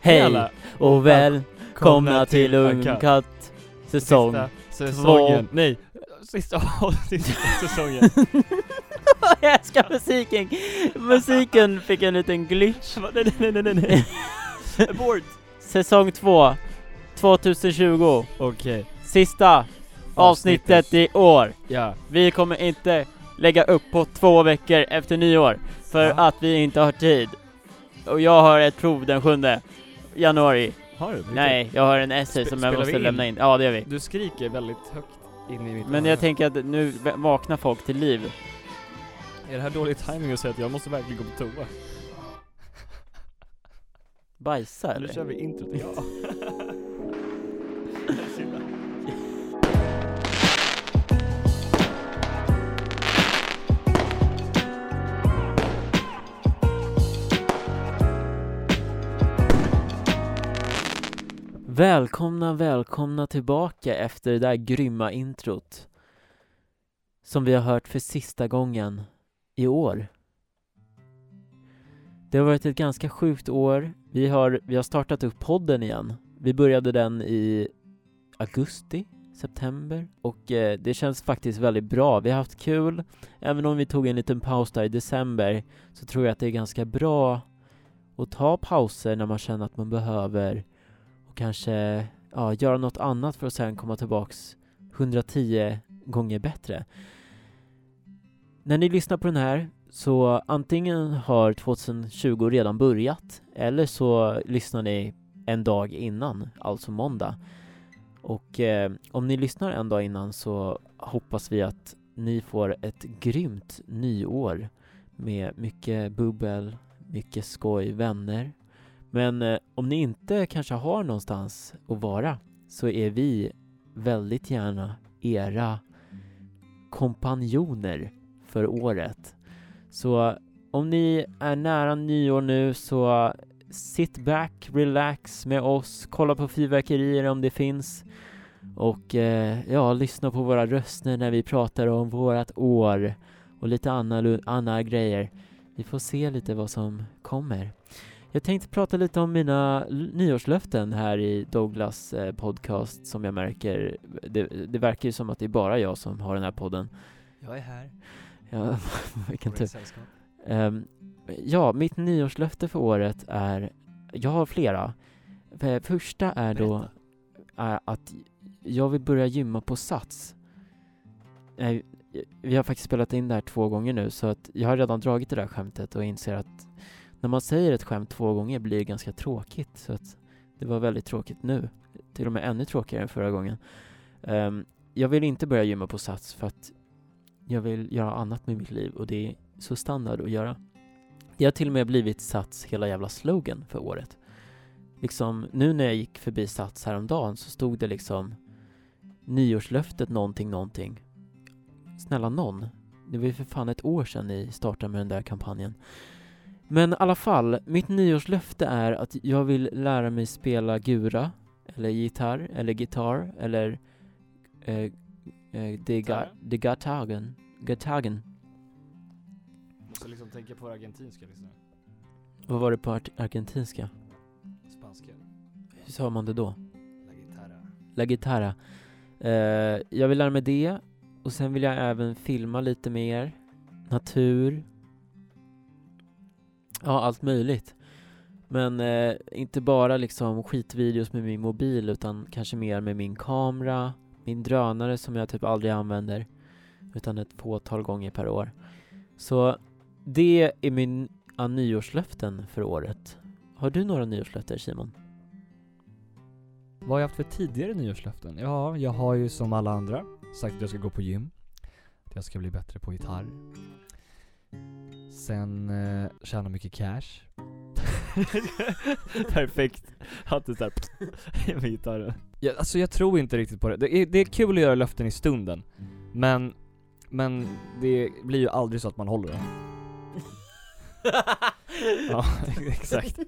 Hej alla. och välkomna till Unkatt. Ungkatt säsong Sista säsongen. Nej, sista avsnittet av säsongen. Jag älskar musiken! Musiken fick en liten glitch. nej, nej, nej, nej, nej. Abort. Säsong 2, 2020. Okej. Sista avsnittet i år. Ja. Vi kommer inte lägga upp på två veckor efter nyår. För Va? att vi inte har tid. Och jag har ett prov den 7 januari. Har du? Vilket- Nej, jag har en essay Spe- som jag spelar vi måste in? lämna in. Ja, det gör vi. Du skriker väldigt högt in i mitt Men öra. jag tänker att nu va- vaknar folk till liv. Är det här dålig timing att säga att jag måste verkligen gå på toa? Bajsa Nu eller? kör vi introt. Ja. Välkomna, välkomna tillbaka efter det där grymma introt. Som vi har hört för sista gången i år. Det har varit ett ganska sjukt år. Vi har, vi har startat upp podden igen. Vi började den i augusti, september och eh, det känns faktiskt väldigt bra. Vi har haft kul. Även om vi tog en liten paus där i december så tror jag att det är ganska bra att ta pauser när man känner att man behöver och kanske ja, göra något annat för att sen komma tillbaks 110 gånger bättre. När ni lyssnar på den här så antingen har 2020 redan börjat eller så lyssnar ni en dag innan, alltså måndag. Och eh, om ni lyssnar en dag innan så hoppas vi att ni får ett grymt nyår med mycket bubbel, mycket skoj, vänner men eh, om ni inte kanske har någonstans att vara så är vi väldigt gärna era kompanjoner för året. Så om ni är nära nyår nu så eh, sit back, relax med oss, kolla på fyrverkerier om det finns och eh, ja, lyssna på våra röster när vi pratar om vårat år och lite annan anna grejer. Vi får se lite vad som kommer. Jag tänkte prata lite om mina l- nyårslöften här i Douglas eh, podcast som jag märker, det, det verkar ju som att det är bara jag som har den här podden. Jag är här. Ja, vilken tur. sällskap. Ehm, ja, mitt nyårslöfte för året är, jag har flera. F- Första är då är att jag vill börja gymma på Sats. Nej, Vi har faktiskt spelat in det här två gånger nu så att jag har redan dragit det där skämtet och inser att när man säger ett skämt två gånger blir det ganska tråkigt så att det var väldigt tråkigt nu. Till och med ännu tråkigare än förra gången. Ehm, jag vill inte börja gymma på Sats för att jag vill göra annat med mitt liv och det är så standard att göra. Det har till och med blivit Sats hela jävla slogan för året. Liksom, nu när jag gick förbi Sats häromdagen så stod det liksom nyårslöftet någonting någonting. Snälla någon. Det var ju för fan ett år sedan ni startade med den där kampanjen. Men i alla fall, mitt nyårslöfte är att jag vill lära mig spela gura, eller gitarr, eller gitarr, eller eh, eh, de, ga, Gitarr? de gatagen. Gatagen. Måste liksom tänka på det argentinska liksom. Vad var det på ar- argentinska? Spanska. Hur sa man det då? La guitarra. La Guitarra. Eh, jag vill lära mig det och sen vill jag även filma lite mer. Natur. Ja, allt möjligt. Men eh, inte bara liksom skitvideos med min mobil utan kanske mer med min kamera, min drönare som jag typ aldrig använder utan ett fåtal gånger per år. Så det är mina nyårslöften för året. Har du några nyårslöften Simon? Vad har jag haft för tidigare nyårslöften? Ja, jag har ju som alla andra sagt att jag ska gå på gym. Att jag ska bli bättre på gitarr. Sen eh, tjäna mycket cash. Perfekt. Hatten såhär med gitarren. Ja, alltså jag tror inte riktigt på det. Det är, det är kul att göra löften i stunden. Men, men det blir ju aldrig så att man håller dem. Ja, exakt.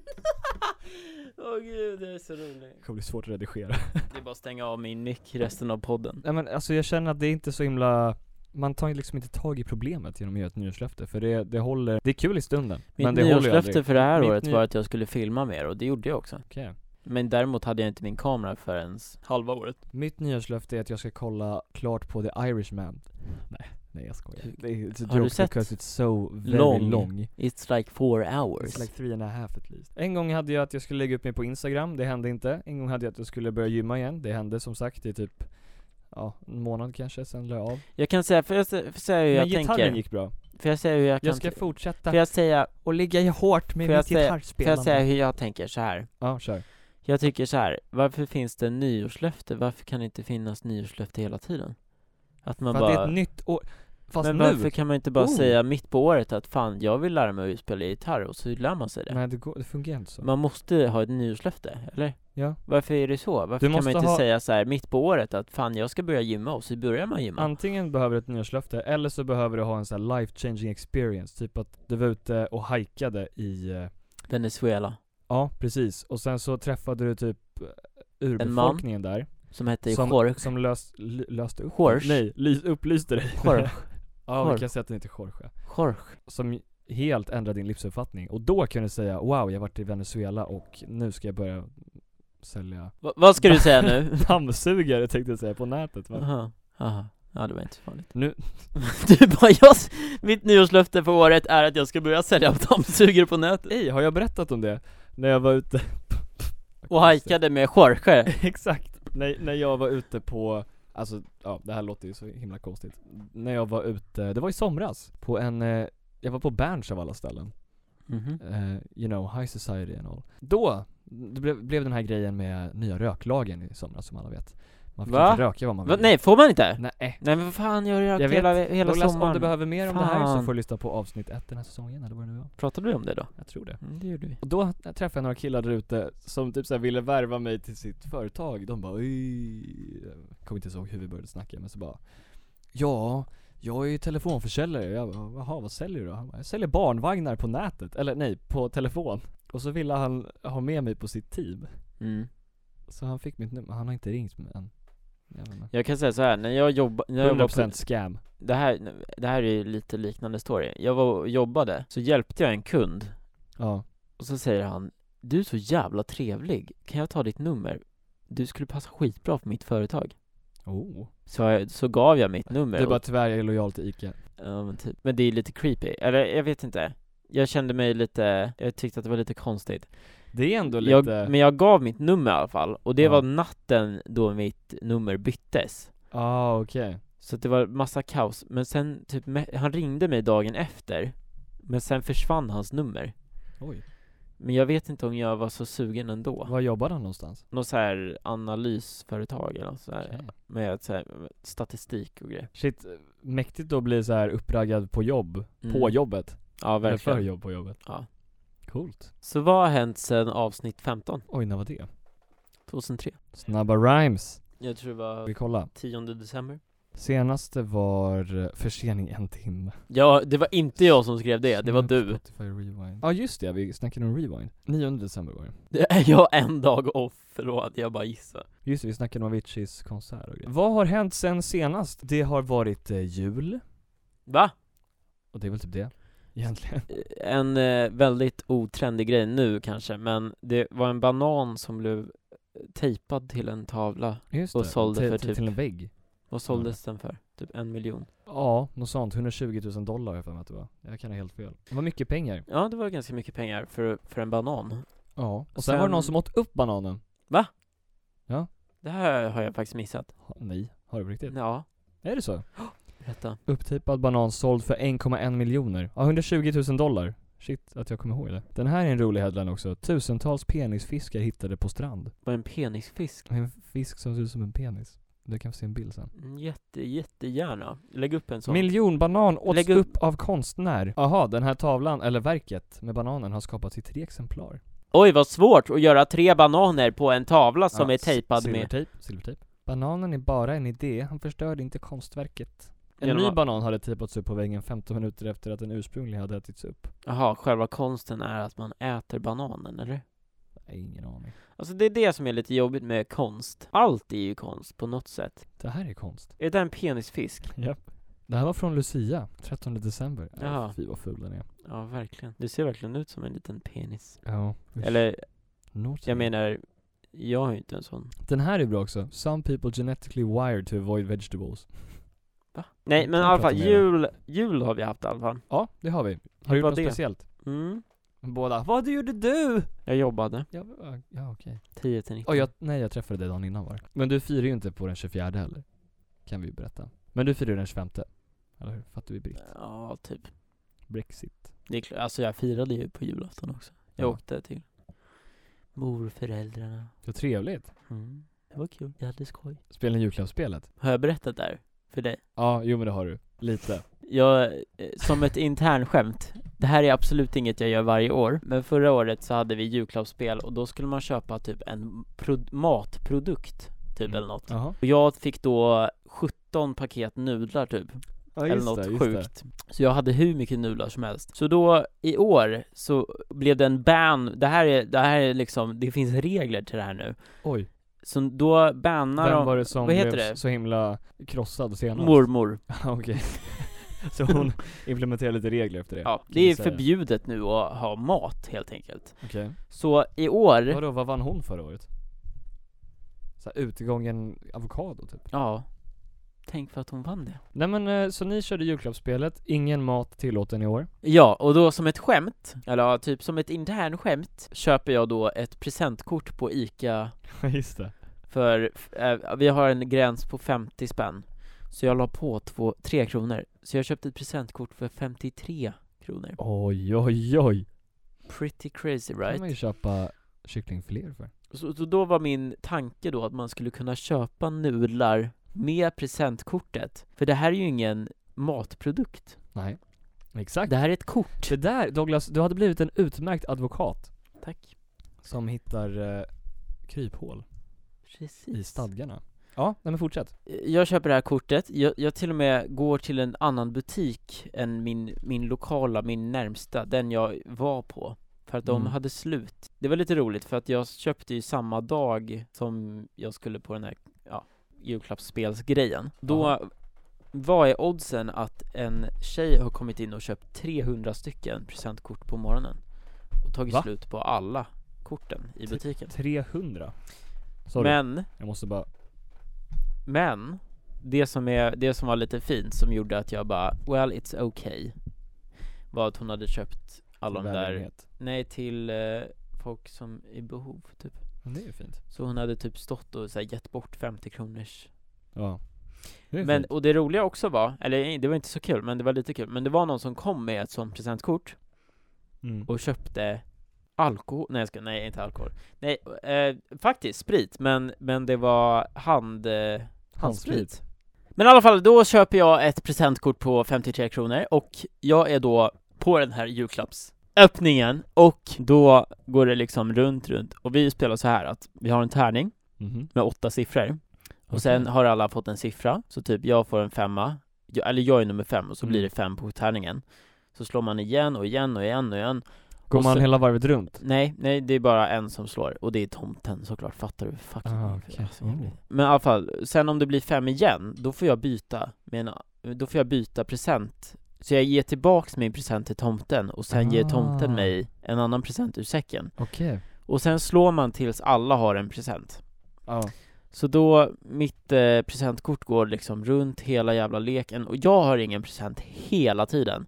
Åh gud, det är så roligt. Det kommer bli svårt att redigera. Det är bara att stänga av min mick resten av podden. Nej men alltså jag känner att det är inte så himla man tar ju liksom inte tag i problemet genom att göra ett nyårslöfte, för det, det håller, det är kul i stunden. Mitt men det håller ju nyårslöfte aldrig. för det här Mitt året ny- var att jag skulle filma mer och det gjorde jag också. Okej. Men däremot hade jag inte min kamera förrän halva året. Mitt nyårslöfte är att jag ska kolla klart på The Irishman. Nej, nej jag skojar. Du- Det är, it's a har du joke sett Because it's so very Lång? long. long. It's like four hours. It's like three and a half at least. En gång hade jag att jag skulle lägga upp mig på Instagram, det hände inte. En gång hade jag att jag skulle börja gymma igen, det hände som sagt. Det är typ, ja, en månad kanske, sen la jag av. Jag kan säga, för jag se- får säga hur Men jag gitarren tänker. gick bra. Får jag säga hur jag kan... Jag ska fortsätta. får jag säga, och ligga hårt med Får jag säga- får gitarrspelande. jag säga hur jag tänker så här. Ja, kör. Jag tycker så här, varför finns det nyårslöfte? Varför kan det inte finnas nyårslöfte hela tiden? Att man För att bara... det är ett nytt år. Fast men nu. varför kan man inte bara Oh. säga mitt på året att fan, jag vill lära mig att spela gitarr och så lär man sig det? Nej, det, går, det fungerar inte så. Man måste ha ett nyårslöfte, eller? Ja. Varför är det så? Varför kan man måste inte ha- säga så här mitt på året att fan, jag ska börja gymma och så börjar man gymma? Antingen behöver du ett nyårslöfte, eller så behöver du ha en sån här life changing experience. Typ att du var ute och hajkade i, eh, Venezuela, ja precis. Och sen så träffade du typ eh, urbefolkningen där. som hette som, Jorge. Som lös, l- löste upp Jorge. Nej, lys, upplyste dig. Jorge. ja, vi Jorge. kan säga att den heter Jorge. Jorge. Som helt ändrade din livsuppfattning. Och då kan du säga wow, jag har varit i Venezuela och nu ska jag börja sälja Va- vad ska du säga nu? dammsugare tänkte jag säga på nätet va? Aha, aha. Ja det var inte så farligt. Nu, Du bara, jag, s- mitt nyårslöfte för året är att jag ska börja sälja dammsugare på nätet. ej, har jag berättat om det? När jag var ute Och hajkade med Jorge. Exakt, när, när jag var ute på Alltså, ja det här låter ju så himla konstigt När jag var ute, det var i somras På en, eh, jag var på Berns av alla ställen Mhm. Eh, You know, high society and all Då, det blev, blev den här grejen med nya röklagen i somras som alla vet Man fick Va? inte röka vad man Va, ville nej, får man inte? Nej. Nej men vad fan, jag har ju Jag rökt vet. hela, hela Douglas, om du sommaren. behöver mer om det här så Fan. får du lyssna på avsnitt ett den här säsongen eller vad det nu var Pratade vi om det då? Jag tror det Mm, det gjorde vi. Och då träffade jag några killar där ute som typ så här ville värva mig till sitt företag. De bara "Oj." Jag kommer inte ens ihåg hur vi började snacka men så bara Ja, jag är ju telefonförsäljare. Jag bara, jaha vad säljer du då? Han bara, jag säljer barnvagnar på nätet. Eller nej, på telefon. Och så ville han ha med mig på sitt team. Mm. Så han fick mitt nummer. Han har inte ringt mig än. Jag vet inte. Jag kan säga så här, när jag jobba, när jag var på, 100% scam. det här, det här är ju lite liknande story. Jag var och jobbade, så hjälpte jag en kund Ja. och så säger han Du är så jävla trevlig, kan jag ta ditt nummer? Du skulle passa skitbra på mitt företag. Oh. Så, jag, så gav jag mitt nummer Du och- bara tyvärr, jag är lojal till ICA. Ja men typ, men det är lite creepy, eller jag vet inte Jag kände mig lite, jag tyckte att det var lite konstigt Det är ändå lite... jag, Men jag gav mitt nummer i alla fall, och det Ja. var natten då mitt nummer byttes Ah okej. Så att det var massa kaos, men sen typ, me- han ringde mig dagen efter Men sen försvann hans nummer Oj. Men jag vet inte om jag var så sugen ändå Var jobbar han någonstans? Något så här analysföretag eller något så här, Okej. med så här, statistik och grejer Shit, mäktigt att bli så här uppraggad på jobb, på Mm. jobbet. Ja Eller för verkligen jobb på jobbet. Ja. Coolt. Så vad har hänt sen avsnitt 15? Oj, när var det? 2003? Snabba rhymes. Jag tror det var Vi kolla. 10 december Senaste var eh, försening en timme. Ja, det var inte jag som skrev det, det var Snabbt du Spotify rewind. Ja just det, vi snackade om rewind. 9 december var det. Det är jag en dag off, då hade jag bara gissat Just det, vi snackade om Aviciis konsert och grejer. Vad har hänt sen senast? Det har varit eh, jul, Va? och det är väl typ det. Egentligen. En eh, väldigt otrendig grej nu kanske, men det var en banan som blev eh, tejpad till en tavla Just Och det. sålde till, för till- typ- Till en vägg. Vad såldes Mm. den för? Typ en miljon Ja, något sånt. 120 000 dollar har jag för mig att det var. Jag kan ha helt fel. Det var mycket pengar. Ja, det var ganska mycket pengar för, för en banan Ja, och sen, Sen- var det någon som åt upp bananen. Det här har jag faktiskt missat Ha, nej, har du på riktigt? Ja, Är det så? berätta Upptejpad banan såld för 1,1 miljoner. Ja, 120 000 dollar. Shit, att jag kommer ihåg det. Den här är en rolig headline också. Tusentals penisfiskar hittade på strand. Var en penisfisk? En fisk som ser ut som en penis. Du kan få se en bild sen. Mm, Jätte, jättegärna Lägg upp en sån Miljonbanan åts Lägg upp- upp av konstnär. Aha, den här tavlan, eller verket, med bananen har skapats i tre exemplar. Oj vad svårt att göra tre bananer på en tavla som Ja, är tejpad s- med Ah, Silvertejp, silvertejp. Bananen är bara en idé, han förstörde inte konstverket. En Genom ny att- banan hade tejpats upp på väggen 15 minuter efter att den ursprungliga hade ätits upp. Jaha, själva konsten är att man äter bananen eller? Nej, ingen aning. Alltså det är det som är lite jobbigt med konst Allt är ju konst på något sätt Det här är konst. Är det där en penisfisk? Japp. Det här var från Lucia, 13 december. Jaha. Ja. Fy vad ful den är. Ja, verkligen. Du ser verkligen ut som en liten penis. Ja. Eller, Noter. jag menar, jag har ju inte en sån. Den här är bra också. Some people genetically wired to avoid vegetables. Nej, Jag men i kan alla fall, prata mer om- jul, jul har vi haft i alla fall. Ja, det har vi. Har Hur du gjort var något det? speciellt? Mm. Båda. Vad gjorde du? Jag jobbade Ja, ja, ja okej. 10 till 19. Oh, jag, nej, jag träffade dig dagen innan var det. Men du firar ju inte på den 24 heller. Kan vi ju berätta. Men du firar ju den 25. Eller hur? Fattar vi Brit? Ja, typ. Brexit. Det är klart, alltså jag firade ju på julafton också. Jag Ja. åkte till morföräldrarna. Så trevligt. Mm. Det var kul. Jag hade skoj. Spela in julklappsspelet. Har jag berättat det här för dig? Ja, jo men det har du. Lite. Jag, eh, som ett internskämt, det här är absolut inget jag gör varje år, men förra året så hade vi julklappsspel och då skulle man köpa typ en prod- matprodukt, typ Mm. eller något. Jaha. Och jag fick då 17 paket nudlar typ, Ja, eller något sjukt. Så jag hade hur mycket nudlar som helst. Så då, i år, så blev det en ban, det här är, det här är liksom, det finns regler till det här nu. Oj. Så då bannar Vem de var det som vad heter blev det? så himla krossad senast? mormor Ja, Okej. Så hon implementerar lite regler efter det? Ja, kan det vi är säga. förbjudet nu att ha mat helt enkelt. Okej. Så i år, Vadå, vad vann hon förra året? Så här, utgången avokado typ? ja, tänk för att hon vann det. Nej men eh, så ni körde julklappsspelet, ingen mat tillåten i år? Ja, och då som ett skämt, eller ja, typ som ett internskämt, köper jag då ett presentkort på ICA Just det. för, f- eh, vi har en gräns på 50 spänn. Så jag la på två, tre kronor. Så jag köpte ett presentkort för 53 kronor. Oj oj oj. Pretty crazy Right. kan man ju right? köpa kycklingfiléer för. Så, så då var min tanke då att man skulle kunna köpa nudlar med presentkortet. För det här är ju ingen matprodukt. Nej. Exakt. Det här är ett kort. Det där Douglas, du hade blivit en utmärkt advokat. Tack. Som hittar eh, kryphål i Precis. stadgarna. Ja, nej men fortsätt. Jag köper det här kortet, jag, jag till och med går till en annan butik än min, min lokala, min närmsta, den jag var på. För att de Mm. hade slut. Det var lite roligt för att jag köpte ju samma dag som jag skulle på den här, ja, julklappsspelsgrejen. Då Jaha. vad är oddsen att en tjej har kommit in och köpt 300 stycken presentkort på morgonen? Och tagit Va? slut på alla korten i Tre- butiken. 300. Sorry, Men jag måste bara Men det som, är, det som var lite fint som gjorde att jag bara, well it's okay Var att hon hade köpt alla de där, Välgörenhet. nej till eh, folk som är i behov typ Men det är ju fint. Så hon hade typ stått och så här, gett bort 50 kronors Ja. Det är Men, fint. och det roliga också var, eller det var inte så kul men det var lite kul Men det var någon som kom med ett sånt presentkort Mm. och köpte alkohol, nej jag ska, nej inte alkohol Nej, eh, faktiskt sprit men, men det var hand... Eh, handsprit. Men i alla fall, då köper jag ett presentkort på 53 kronor och jag är då på den här julklappsöppningen och då går det liksom runt, runt och vi spelar så här att vi har en tärning Mhm. med åtta siffror och sen har alla fått en siffra, så typ jag får en femma, jag, eller jag är nummer fem och så Mm. blir det fem på tärningen så slår man igen och igen och igen och igen Går och man så- hela varvet runt? Nej, nej det är bara en som slår, och det är tomten såklart, fattar du? Fucking Ah, idiot. okej. Alltså, jag blir- Men i alla fall, sen om det blir fem igen, då får jag byta med en, då får jag byta present Så jag ger tillbaks min present till tomten, och sen ger tomten Ah. mig en annan present ur säcken Okej. Och sen slår man tills alla har en present Ja. Så då, mitt eh, presentkort går liksom runt hela jävla leken, och jag har ingen present hela tiden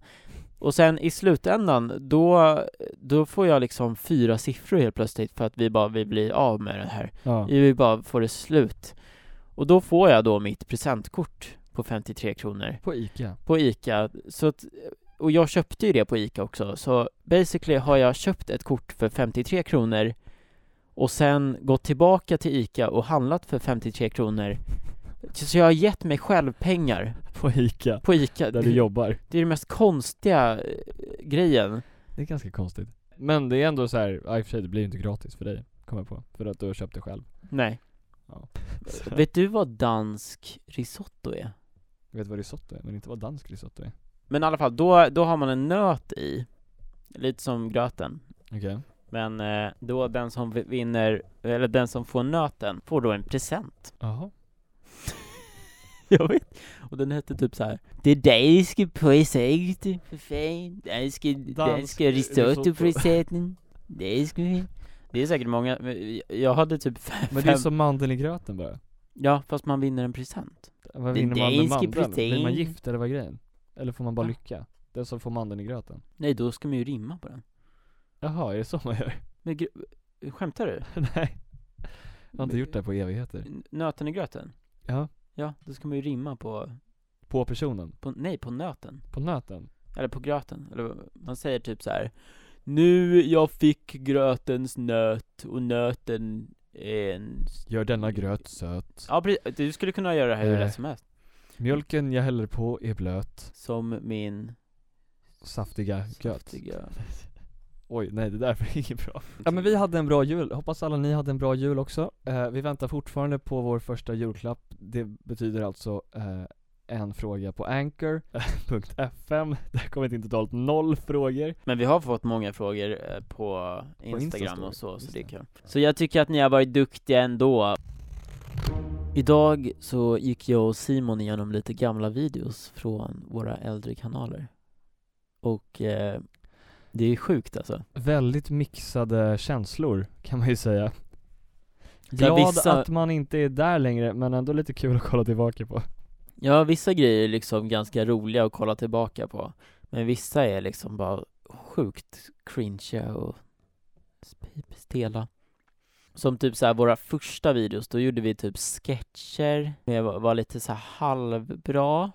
och sen i slutändan, då, då får jag liksom fyra siffror helt plötsligt för att vi bara, vi blir av med det här. ja. Vi bara får det slut. Och då får jag då mitt presentkort på 53 kronor På Ica. på ICA. Så att, och jag köpte ju det på ICA också, så basically har jag köpt ett kort för 53 kronor och sen gått tillbaka till ICA och handlat för 53 kronor. Så jag har gett mig själv pengar På Ica. på ICA. Där du jobbar. Det är den mest konstiga eh, grejen. Det är ganska konstigt. Men det är ändå så här, ja, i och för sig det blir ju inte gratis för dig. Kommer jag på. För att du har köpt det själv. Nej. Ja. Vet du vad dansk risotto är? Jag vet vad risotto är, men inte vad dansk risotto är. Men i alla fall, då, då har man en nöt i, lite som gröten. Okej. Men eh, då den som vi- vinner, eller den som får nöten, får då en present. Jaha. jag vet. Och den hette typ så här. Det danska presentet, för fan. Danska, danska risotto risotto. presenten. Danska. Det är säkert många, men jag hade typ fem. Men det är som mandeln i gröten bara. Ja, fast man vinner en present. Vad Det vinner man med danske mandeln? Blir man protein. gift eller vad är grejen? Eller får man bara Va? lycka? Den som får mandeln i gröten? Nej, då ska man ju rimma på den. Jaha, är det så man gör? Men gr- skämtar du? Nej, jag har inte gjort det här på evigheter. N- Nöten i gröten? Ja. Ja, då ska man ju rimma på, På personen? på nej, på nöten. På nöten? Eller på gröten, eller vad- man säger typ så här. Nu jag fick grötens nöt och nöten är en... Gör denna gröt söt. Ja precis, du skulle kunna göra det här hur Eh. lätt som helst Mjölken jag häller på är blöt. Som min Saftiga gröt. saftiga Oj, nej det där blir inget bra. Ja men vi hade en bra jul, hoppas alla ni hade en bra jul också. Eh, vi väntar fortfarande på vår första julklapp. Det betyder alltså eh, en fråga på anchor.fm. Där kommer det in totalt noll frågor. Men vi har fått många frågor eh, på Instagram Instastory, och så, så just det är det. kul Så jag tycker att ni har varit duktiga ändå Idag så gick jag och Simon igenom lite gamla videos från våra äldre kanaler Och eh, det är sjukt alltså Väldigt mixade känslor kan man ju säga. Ja, Glad vissa, att man inte är där längre men ändå lite kul att kolla tillbaka på. ja, vissa grejer är liksom ganska roliga att kolla tillbaka på Men vissa är liksom bara sjukt cringe och sp- stela Som typ så här våra första videos, då gjorde vi typ sketcher Med var var lite så här halvbra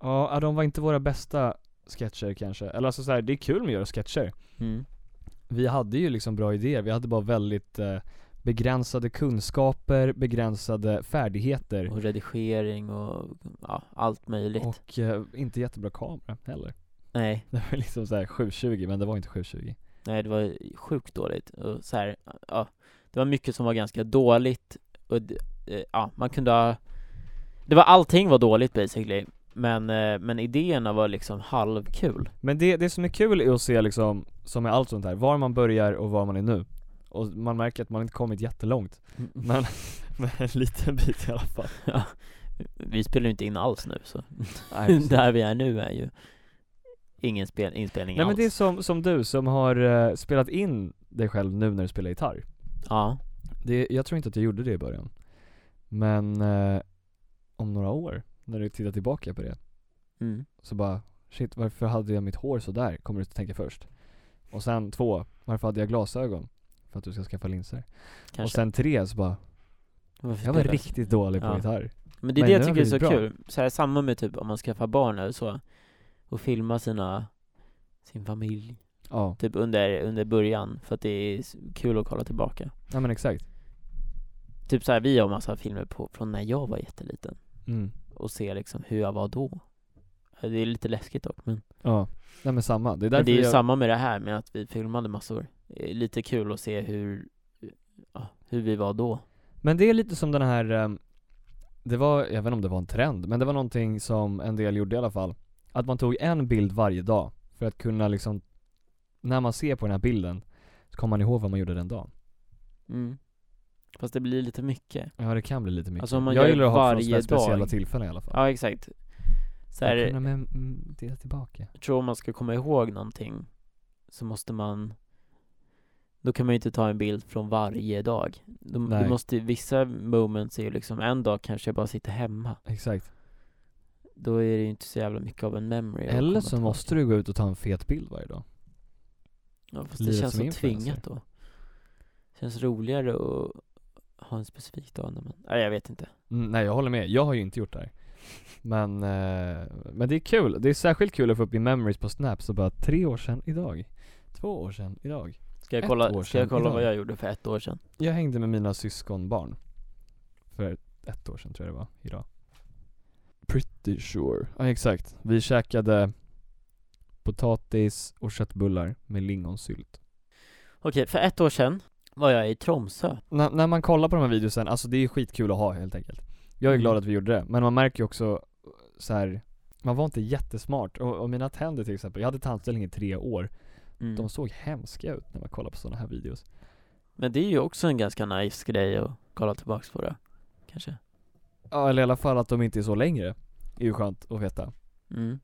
Ja, ja, de var inte våra bästa sketcher kanske. Eller alltså så här, det är kul med att göra sketcher. mm. Vi hade ju liksom bra idéer, vi hade bara väldigt eh, begränsade kunskaper, begränsade färdigheter Och redigering och ja, allt möjligt och eh, inte jättebra kamera heller. Nej, Det var liksom så här 720 men det var inte 720. nej det var sjukt dåligt och så här, ja Det var mycket som var ganska dåligt och d- eh, ja, man kunde ha Det var allting var dåligt basically Men, eh, men idéerna var liksom halvkul Men det, det som är kul är att se liksom, som med allt sånt här, var man börjar och var man är nu. Och man märker att man inte kommit jättelångt. Men, men en liten bit i alla fall. ja, Vi spelar ju inte in alls nu så Nej, Där vi är nu är ju Ingen spel, inspelning Nej alls men det är som, som du som har eh, spelat in dig själv nu när du spelar gitarr. Ja, Det, jag tror inte att jag gjorde det i början. Men eh, om några år, när du tittar tillbaka på det, mm. så bara shit varför hade jag mitt hår så där kommer du att tänka först. Och sen två, varför hade jag glasögon? För att du ska skaffa linser. kanske Och sen tre så bara, Varför jag var spelar- riktigt dålig på Ja. gitarr. Men det är Men det jag nu har tycker är så vi det bra. kul, så här, samma med typ om man skaffar barn eller så Och filma sina, sin familj Ja, Typ under, under början, för att det är s- kul att kolla tillbaka ja men exakt. Typ såhär, vi har massa filmer på, från när jag var jätteliten Mm. Och se liksom hur jag var då Det är lite läskigt dock men, Ja, nej men samma. Det men är därför det är ju jag, samma med det här med att vi filmade massor Det är Lite kul att se hur, ja, hur vi var då Men det är lite som den här, ehm, det var, jag vet inte om det var en trend, men det var någonting som en del gjorde i alla fall. Att man tog en bild varje dag för att kunna liksom, när man ser på den här bilden så kommer man ihåg vad man gjorde den dagen. mm. Fast det blir lite mycket Ja det kan bli lite mycket. Alltså, om man jag gör gillar att ha det varje för sådana dag. speciella tillfällen i alla fall. Ja exakt så Att här, kunna med, mm, dela tillbaka. jag tror om man ska komma ihåg någonting så måste man då kan man ju inte ta en bild från varje dag. Du, du Nej. måste, vissa moments är ju liksom, en dag kanske jag bara sitter hemma. Exakt. Då är det ju inte så jävla mycket av en memory. att Eller komma så tillbaka. måste du gå ut och ta en fet bild varje dag. Ja, fast det livet känns som så influencer. tvingat då. Känns roligare att ha en specifik dag när man, nej jag vet inte. Mm, nej jag håller med, jag har ju inte gjort det här. Men, eh, men det är kul, det är särskilt kul att få upp i memories på snaps och bara tre år sedan idag. Två år sedan idag. Ska jag Ett kolla, år ska jag sedan kolla vad idag. jag gjorde för ett år sedan? Jag hängde med mina syskonbarn För ett år sedan tror jag det var, idag Pretty sure Ja exakt, vi käkade potatis och köttbullar med lingonsylt Okej, för ett år sedan var jag i Tromsö. N- När man kollar på de här videosen, alltså det är skitkul att ha helt enkelt Jag är glad Mm. att vi gjorde det, men man märker ju också uh, så här. Man var inte jättesmart, och, och mina tänder till exempel, jag hade tandställning i tre år Mm. De såg hemska ut när man kollar på sådana här videos Men det är ju också en ganska nice grej att kolla tillbaks på det, kanske Ja eller i alla fall att de inte är så längre. Är ju skönt att veta. Mm.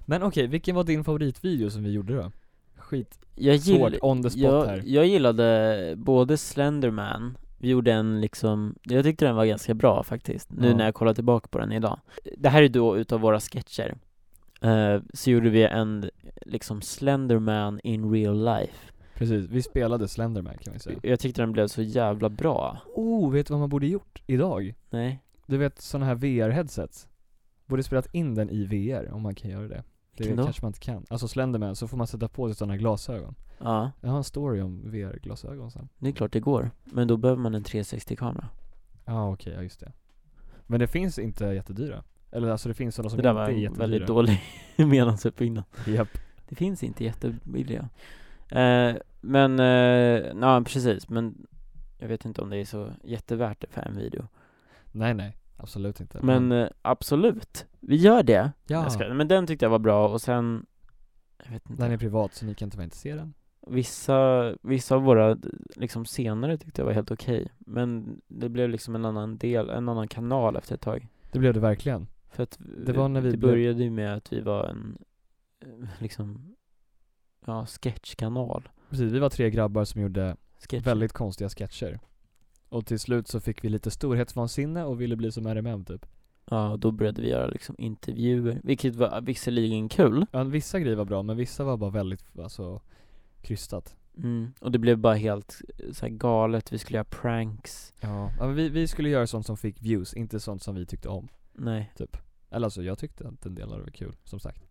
Men okej, vilken var din favoritvideo som vi gjorde då? Skit Jag, svårt, gill, on the spot jag, här. jag gillade både Slenderman, vi gjorde en liksom, jag tyckte den var ganska bra faktiskt, nu Ja. när jag kollar tillbaka på den idag. Det här är då utav våra sketcher. Eh, så gjorde vi en liksom Slenderman in real life. Precis, vi spelade Slenderman kan vi säga. Jag tyckte den blev så jävla bra. Oh, vet du vad man borde gjort idag? Nej, Du vet sådana här VR-headsets? Borde spelat in den i VR om man kan göra det. Det vilken då? kanske man inte kan. Alltså Slenderman, så får man sätta på sig sådana glasögon. Ja, Jag har en story om VR-glasögon sen. det är klart det går. Men då behöver man en 360-kamera. Ja ah, okej, ja just det. Men det finns inte jättedyra. Eller alltså det finns sådana som Det där inte är var jättedyra. väldigt dålig meningsuppbyggnad. Japp. Det finns inte jättebilliga. Eh, men, eh, ja precis, men jag vet inte om det är så jättevärt det för en video. Nej nej, absolut inte. Men eh, absolut, vi gör det. Mm. ja, Jag ska, men den tyckte jag var bra och sen, jag vet inte. den är privat så ni kan inte vara intresserade. Vissa, vissa av våra liksom senare tyckte jag var helt okej. Men det blev liksom en annan del, en annan kanal efter ett tag. Det blev det verkligen. För att Det var när vi det blev- började ju med att vi var en, eh, liksom, ja, sketchkanal. Precis, vi var tre grabbar som gjorde Sketch. väldigt konstiga sketcher. Och till slut så fick vi lite storhetsvansinne och ville bli som RMM typ. Ja, och då började vi göra liksom intervjuer, vilket var visserligen kul. Ja, vissa grejer var bra men vissa var bara väldigt, alltså, krystat. Mm. Och det blev bara helt eh, så här galet, vi skulle göra pranks. Ja. men vi, vi skulle göra sånt som fick views, inte sånt som vi tyckte om. Nej. Eller alltså jag tyckte att en del av det var kul, som sagt.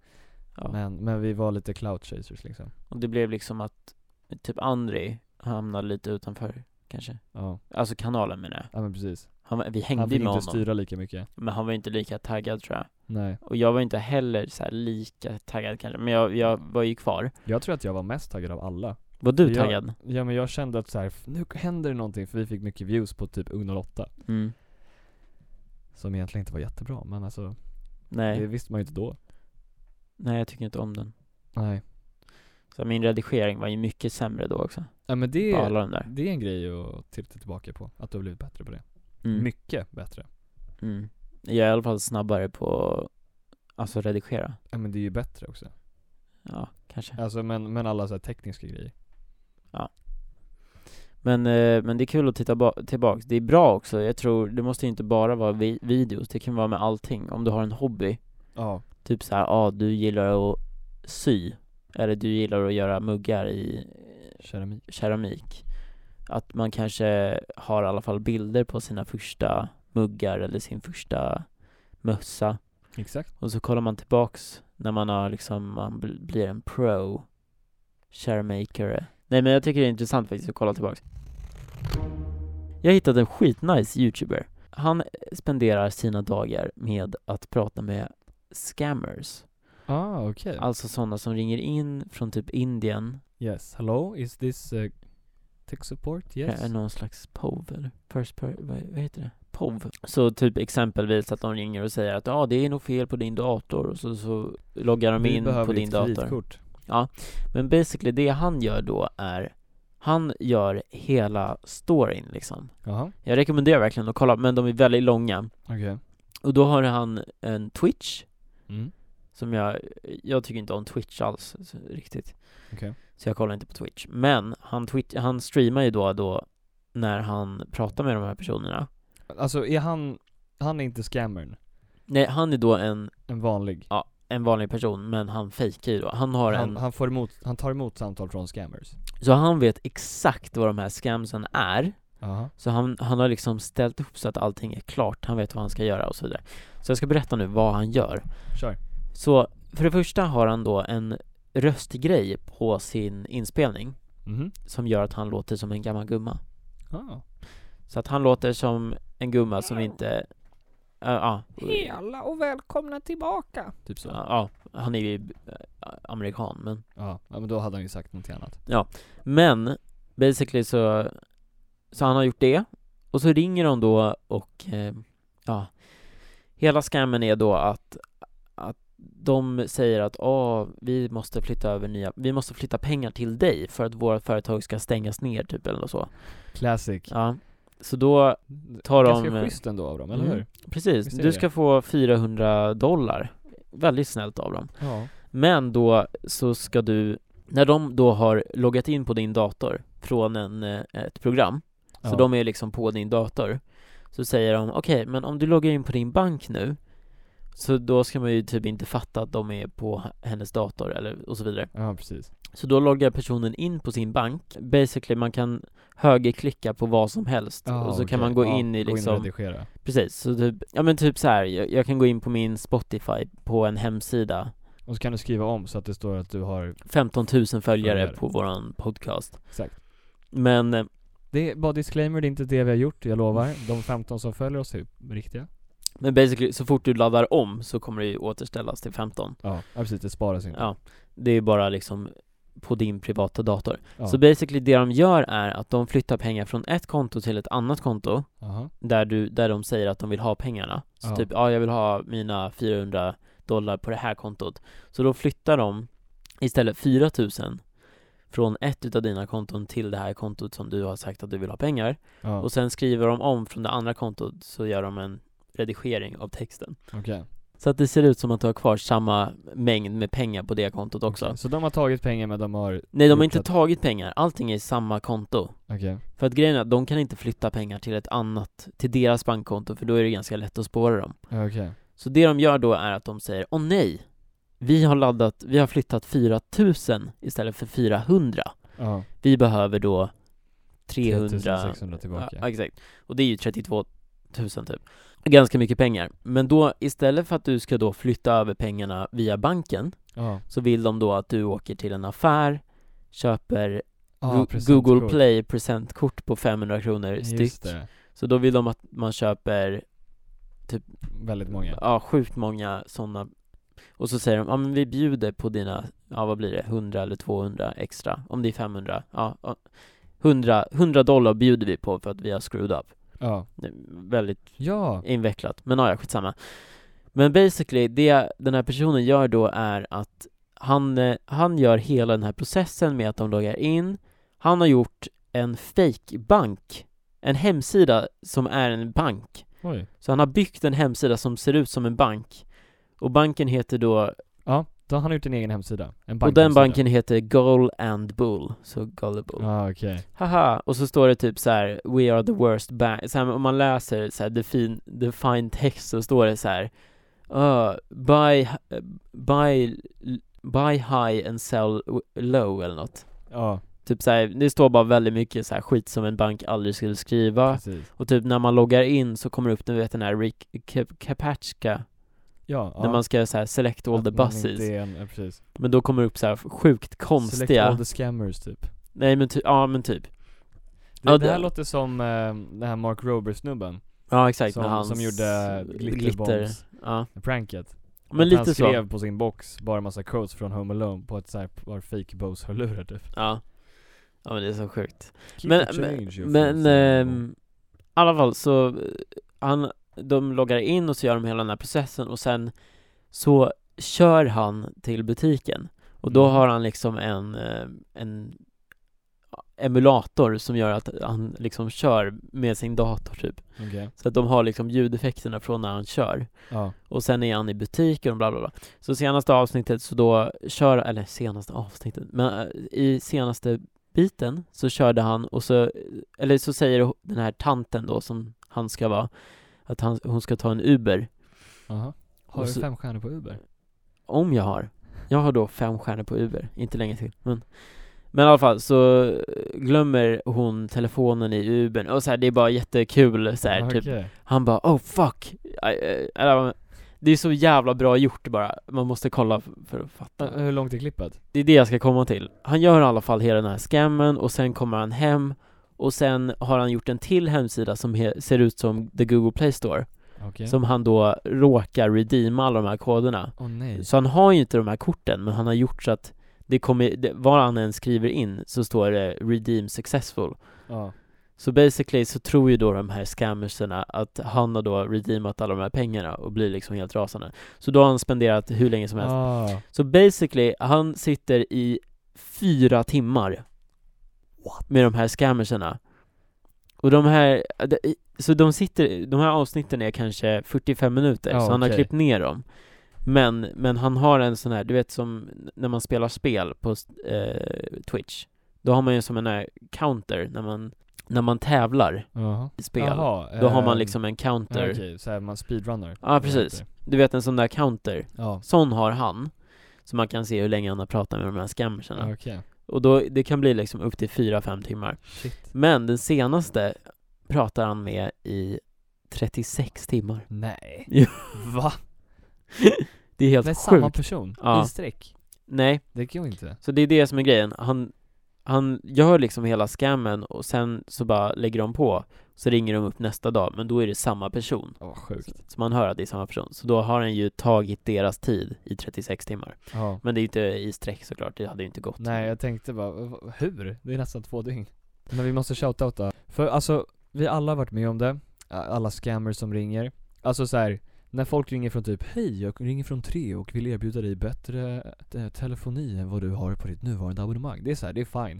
Ja. Men, men vi var lite cloud chasers liksom. Och det blev liksom att typ Andri hamnade lite utanför kanske. Ja, Alltså kanalen menar jag. ja men precis. Han, var- vi Han hängde fick ju med inte honom, styra lika mycket. men han var inte lika taggad tror jag. Nej. Och jag var inte heller så här lika taggad kanske, men jag, jag var ju kvar. Jag tror att jag var mest taggad av alla. Var du Jag- taggad? Ja men jag kände att så här, "F- nu händer det någonting för vi fick mycket views på typ Ung 08. Mm. Som egentligen inte var jättebra men alltså, Nej, det visste man ju inte då. nej jag tycker inte om den. Nej. Så min redigering var ju mycket sämre då också, Ja men det, på alla de där. det är en grej att titta tillbaka på, att du har blivit bättre på det. Mm. Mycket bättre. Mm. Jag är i alla fall snabbare på, alltså redigera. Ja men det är ju bättre också. Ja, kanske. Alltså men, men alla så här tekniska grejer. Men, eh, men det är kul att titta ba- tillbaks. Det är bra också, jag tror, det måste ju inte bara vara vi- videos, det kan vara med allting. Om du har en hobby, Ja. typ så här, ah, du gillar att sy, eller du gillar att göra muggar i eh, Keramik. keramik. Att man kanske har i alla fall bilder på sina första muggar eller sin första mössa. Exakt. Och så kollar man tillbaks när man har liksom, man bl- blir en pro sharemaker Nej men jag tycker det är intressant faktiskt att kolla tillbaks Jag hittade en skitnice youtuber Han spenderar sina dagar med att prata med scammers Ah okej. Alltså sådana som ringer in från typ Indien Yes, hello, is this uh, tech support? Yes. Är någon slags POV eller? First per, vad, vad heter det? POV. Så typ exempelvis att de ringer och säger att ja, ah, det är nog fel på din dator och så, så loggar de Vi in behöver på ditt din dator. kreditkort. Men basically det han gör då är Han gör hela storyn liksom Jaha, Jag rekommenderar verkligen att kolla, men de är väldigt långa okej. Och då har han en Twitch Mm, Som jag, jag tycker inte om Twitch alls så, riktigt Okej. Så jag kollar inte på Twitch Men han, twitch, han streamar ju då och då När han pratar med de här personerna Alltså är han, han är inte scammern? Nej, han är då en, En vanlig? en vanlig person, men han fejkar ju då Han har Han, en, han, får emot, han tar emot samtal från scammers? så han vet exakt vad de här scamsen är Jaha. Så han, han har liksom ställt upp så att allting är klart, han vet vad han ska göra och så vidare. Så jag ska berätta nu vad han gör. Kör. Så för det första har han då en röstgrej på sin inspelning Mhm. som gör att han låter som en gammal gumma. Ah. Så att han låter som en gumma som inte, ja, ja, Hela och välkomna tillbaka. Typ så. Ja. ja, han är ju eh, amerikan men ja, men då hade han ju sagt någonting annat. Men basically så, så han har gjort det och så ringer de då och eh, ja, hela scammen är då att, att de säger att ah, vi måste flytta över nya, vi måste flytta pengar till dig för att vårt företag ska stängas ner typ eller så. Classic. Ja. Så då, Tar de- Ganska schysst ändå av dem, eller Mm. hur? precis, Vi ser du det. ska få 400 dollar. Väldigt snällt av dem. Ja. Men då så ska du, när de då har loggat in på din dator från en, eh, ett program, så Ja. de är liksom på din dator, så säger de okej, men om du loggar in på din bank nu, så då ska man ju typ inte fatta att de är på hennes dator eller och så vidare. Ja, precis. Så då loggar personen in på sin bank, basically man kan högerklicka på vad som helst Ja, och så Ah, okej. kan man gå Ja, in i Gå in och liksom redigera. Precis, så typ, ja men typ så här, jag, jag kan gå in på min Spotify på en hemsida Och så kan du skriva om så att det står att du har, 15 000 följare Följare. på våran podcast exakt. Men, eh, Det är bara disclaimer, det är inte det vi har gjort, jag Mm. lovar. De 15 som följer oss är riktiga. men basically, så fort du laddar om så kommer det ju återställas till 15 Ja, ja precis, det sparas inte. Ja, det är bara liksom på din privata dator Ja. Så basically det de gör är att de flyttar pengar från ett konto till ett annat konto Aha. Där, du, där de säger att de vill ha pengarna Så Ja. typ, ja jag vill ha mina 400 dollar på det här kontot Så då flyttar de istället 4000 från ett utav dina konton till det här kontot som du har sagt att du vill ha pengar Ja, Och sen skriver de om från det andra kontot så gör de en redigering av texten. okej. Så att det ser ut som att du har kvar samma mängd med pengar på det kontot också. Okej, Så de har tagit pengar men de har, Nej, de har inte Fortsatt. tagit pengar. Allting är i samma konto. okej. För att grejen är att de kan inte flytta pengar till ett annat, till deras bankkonto för då är det ganska lätt att spåra dem. Ja, Okej. Så det de gör då är att de säger Åh nej! Vi har laddat, vi har flyttat 4000 istället för 400. Ja. Vi behöver då 300 3600 tillbaka. Ja, exakt. Och det är ju 32 000 typ. Ganska mycket pengar. Men då istället för att du ska då flytta över pengarna via banken Ja, så vill de då att du åker till en affär, köper ja Gu- presentkort. Google Play presentkort på 500 kronor Just styck. det. Så då vill de att man köper Väldigt många. ja, sjukt många sådana och så säger de, ja men vi bjuder på dina, ja vad blir det, 100 eller 200 extra, om det är 500, ja, ja 100, 100 dollar bjuder vi på för att vi har screwed up. Ja. Det är Väldigt Ja. invecklat, men ja, ja, skitsamma Men basically, det den här personen gör då är att han, eh, han gör hela den här processen med att de loggar in Han har gjort en fake bank En hemsida som är en bank Oj. Så han har byggt en hemsida som ser ut som en bank Och banken heter då, Ja, då har han gjort en egen hemsida. En och den bankhemsida. banken heter Goal and Bull Så Gullible Ja, okej. Haha, och så står det typ så här: We are the worst bank, så här, om man läser så här, defin, define text så står det så här. Uh, buy, buy, buy high and sell w- low eller något Ja, Typ så här, det står bara väldigt mycket så här skit som en bank aldrig skulle skriva precis. Och typ när man loggar in så kommer det upp, du vet den här Rick Ka- Kapatska Ja, ja. När man ska så här select all Att the man buses Inte är en, ja, precis. Men då kommer det upp så här sjukt Select all konstiga the scammers typ. Nej men ty- ja men typ Det, Ja, det här det- låter som eh, den här Mark Rober-snubben. Ja exakt, Som, med hans som gjorde glitterbombs, Ja, pranket. men Att lite han så skrev på sin box bara massa quotes från Home Alone på ett såhär par fake Bose-hörlurar typ. Ja Ja men det är så sjukt Keep Men, the Typ change, you men, fools. ehm, i alla fall så, eh, han, de loggar in och så gör de hela den här processen och sen så kör han till butiken och då Mm. har han liksom en, eh, en emulator som gör att han liksom kör med sin dator typ Okej, Så att de har liksom ljudeffekterna från när han kör ja. och sen är han i butiken och bla bla bla Så senaste avsnittet så då kör, eller senaste avsnittet, men eh, i senaste biten så körde han och så, eller så säger den här tanten då som han ska vara att han, hon ska ta en Uber, Aha. Har Och du så- fem stjärnor på Uber? om jag har Jag har då fem stjärnor på Uber, inte länge till men men i alla fall så eh, glömmer hon telefonen i Ubern och så här, det är bara jättekul så här, typ Okej. Han bara oh fuck I, I, eller, Det är så jävla bra gjort bara, man måste kolla f- för att Ja, fatta Hur långt är klippet? Det är det jag ska komma till Han gör i alla fall hela den här scammen och sen kommer han hem Och sen har han gjort en till hemsida som he- ser ut som the Google Play Store Okej. Som han då råkar redeema alla de här koderna Åh nej. Så han har ju inte de här korten men han har gjort så att det kommer, det, vad han än skriver in så står det 'redeem successful' Ja. Så basically så tror ju då de här scammerserna att han har då redeemat alla de här pengarna och blir liksom helt rasande Så då har han spenderat hur länge som helst Ah. Så basically, han sitter i fyra timmar Med de här scammerserna Och de här, de- så de sitter, de här avsnitten är kanske 45 minuter, Ja, så han har okej. klippt ner dem men, men han har en sån här, du vet som när man spelar spel på eh, Twitch Då har man ju som en här counter när man, när man tävlar Jaha. i spel Jaha, Då har man ehm, liksom en counter Okej, såhär man speedrunner? Ja, precis. Du vet en sån där counter, Ja, sån har han Så man kan se hur länge han har pratat med de här scammersarna okej. Och då, det kan bli liksom upp till 4-5 timmar Shit. Men den senaste pratar han med i 36 timmar. Nej. Jo. Va? Det är helt Med sjukt. samma person? Ja. I sträck? Nej, Det går inte. så det är det som är grejen. Han, han gör liksom hela scammen och sen så bara lägger de på. Så ringer de upp nästa dag, men då är det samma person. Ja, sjukt. Så man hör att det är samma person. Så då har han ju tagit deras tid i 36 timmar. Ja. Men det är ju inte i sträck såklart, det hade ju inte gått. Nej, jag tänkte bara, v- hur? Det är nästan två dygn. Men vi måste shoutouta. För alltså, vi alla har varit med om det. Alla scammers som ringer. Alltså så här. När folk ringer från typ Hej, jag ringer från tre och vill erbjuda dig bättre eh, telefoni än vad du har på ditt nuvarande abonnemang. Det är så här, det är fine.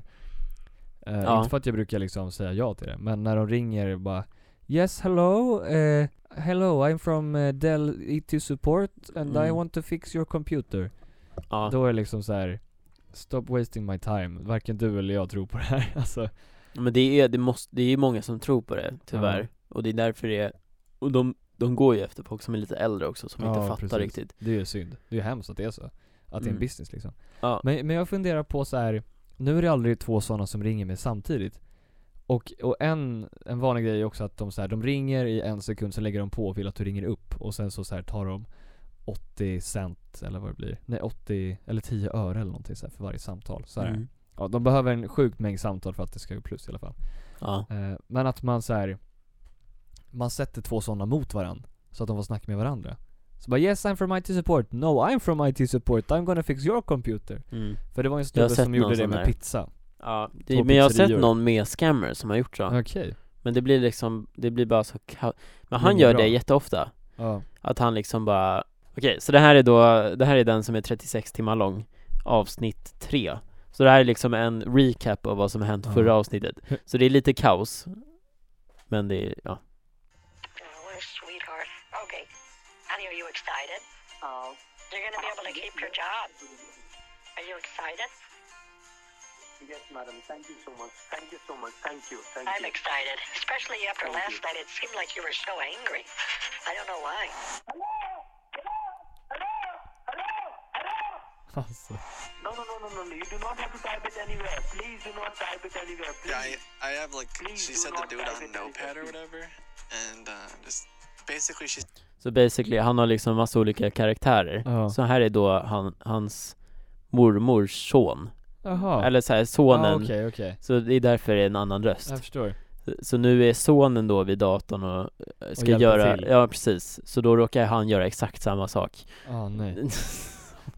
Eh, Ja. Inte för att jag brukar liksom säga ja till det, men när de ringer bara Yes, hello, eh, hello, I'm from eh, Dell IT support and I Mm. want to fix your computer. Ja, Då är det liksom så här. Stop wasting my time. Varken du eller jag tror på det här. Alltså, men det är, det måste, det är ju många som tror på det, tyvärr. Ja. Och det är därför det är, och de, de går ju efter folk som är lite äldre också, som inte Ja, fattar precis. riktigt. det är ju synd. Det är ju hemskt att det är så. Att det är en Mm. business liksom. Ja. Men, men jag funderar på så här. Nu är det aldrig två sådana som ringer mig samtidigt. Och, och en, en vanlig grej är också att de, så här, de ringer i en sekund, sen lägger de på och vill att du ringer upp. Och sen så, så här, tar de 80 cent eller vad det blir. Nej 80 eller 10 öre eller någonting så här, för varje samtal. Så här. Mm. Ja, de behöver en sjukt mängd samtal för att det ska gå plus i alla fall. Ja. Eh, Men att man så här. Man sätter två sådana mot varandra Så att de får snacka med varandra Så bara 'Yes I'm from IT support' 'No I'm from IT support' 'I'm gonna fix your computer' För det var ju en Jag har snubbe som sett gjorde någon det sån med där. pizza ja Två det, men jag har sett pizzerior. någon med scammer som har gjort så. Okej, Men det blir liksom, det blir bara så ka- Men är han inget gör bra. det jätteofta. ja, Att han liksom bara, okej så det här är då, det här är den som är 36 timmar lång, avsnitt 3. Så det här är liksom en recap av vad som hänt Ja. förra avsnittet. Så det är lite kaos. Men det är, ja. Dollar, Oh, sweetheart. Okay. Honey, are you excited? Oh. You're gonna be able to keep your job. Are you excited? Yes, madam. Thank you so much. Thank you so much. Thank you. Thank I'm you. excited. Especially after Thank last you. night, it seemed like you were so angry. I don't know why. alltså no, no, no, no, no, no. You do not have to type it anywhere. Please do not type it anywhere. Please. Yeah, I, I have like Please she do said to not do it type on it in Notepad or cookies. whatever, and uh, just basically she Så basically, han har liksom massa olika karaktärer. Ja. Så här är då han, hans mormors son. Jaha Eller så här, sonen. ah, Okej, okej Så det är därför det är en annan röst. Jag förstår Så nu är sonen då vid datorn och eh, ska hjälpa göra, till. ja precis, så då råkar han göra exakt samma sak Ah nej Mm.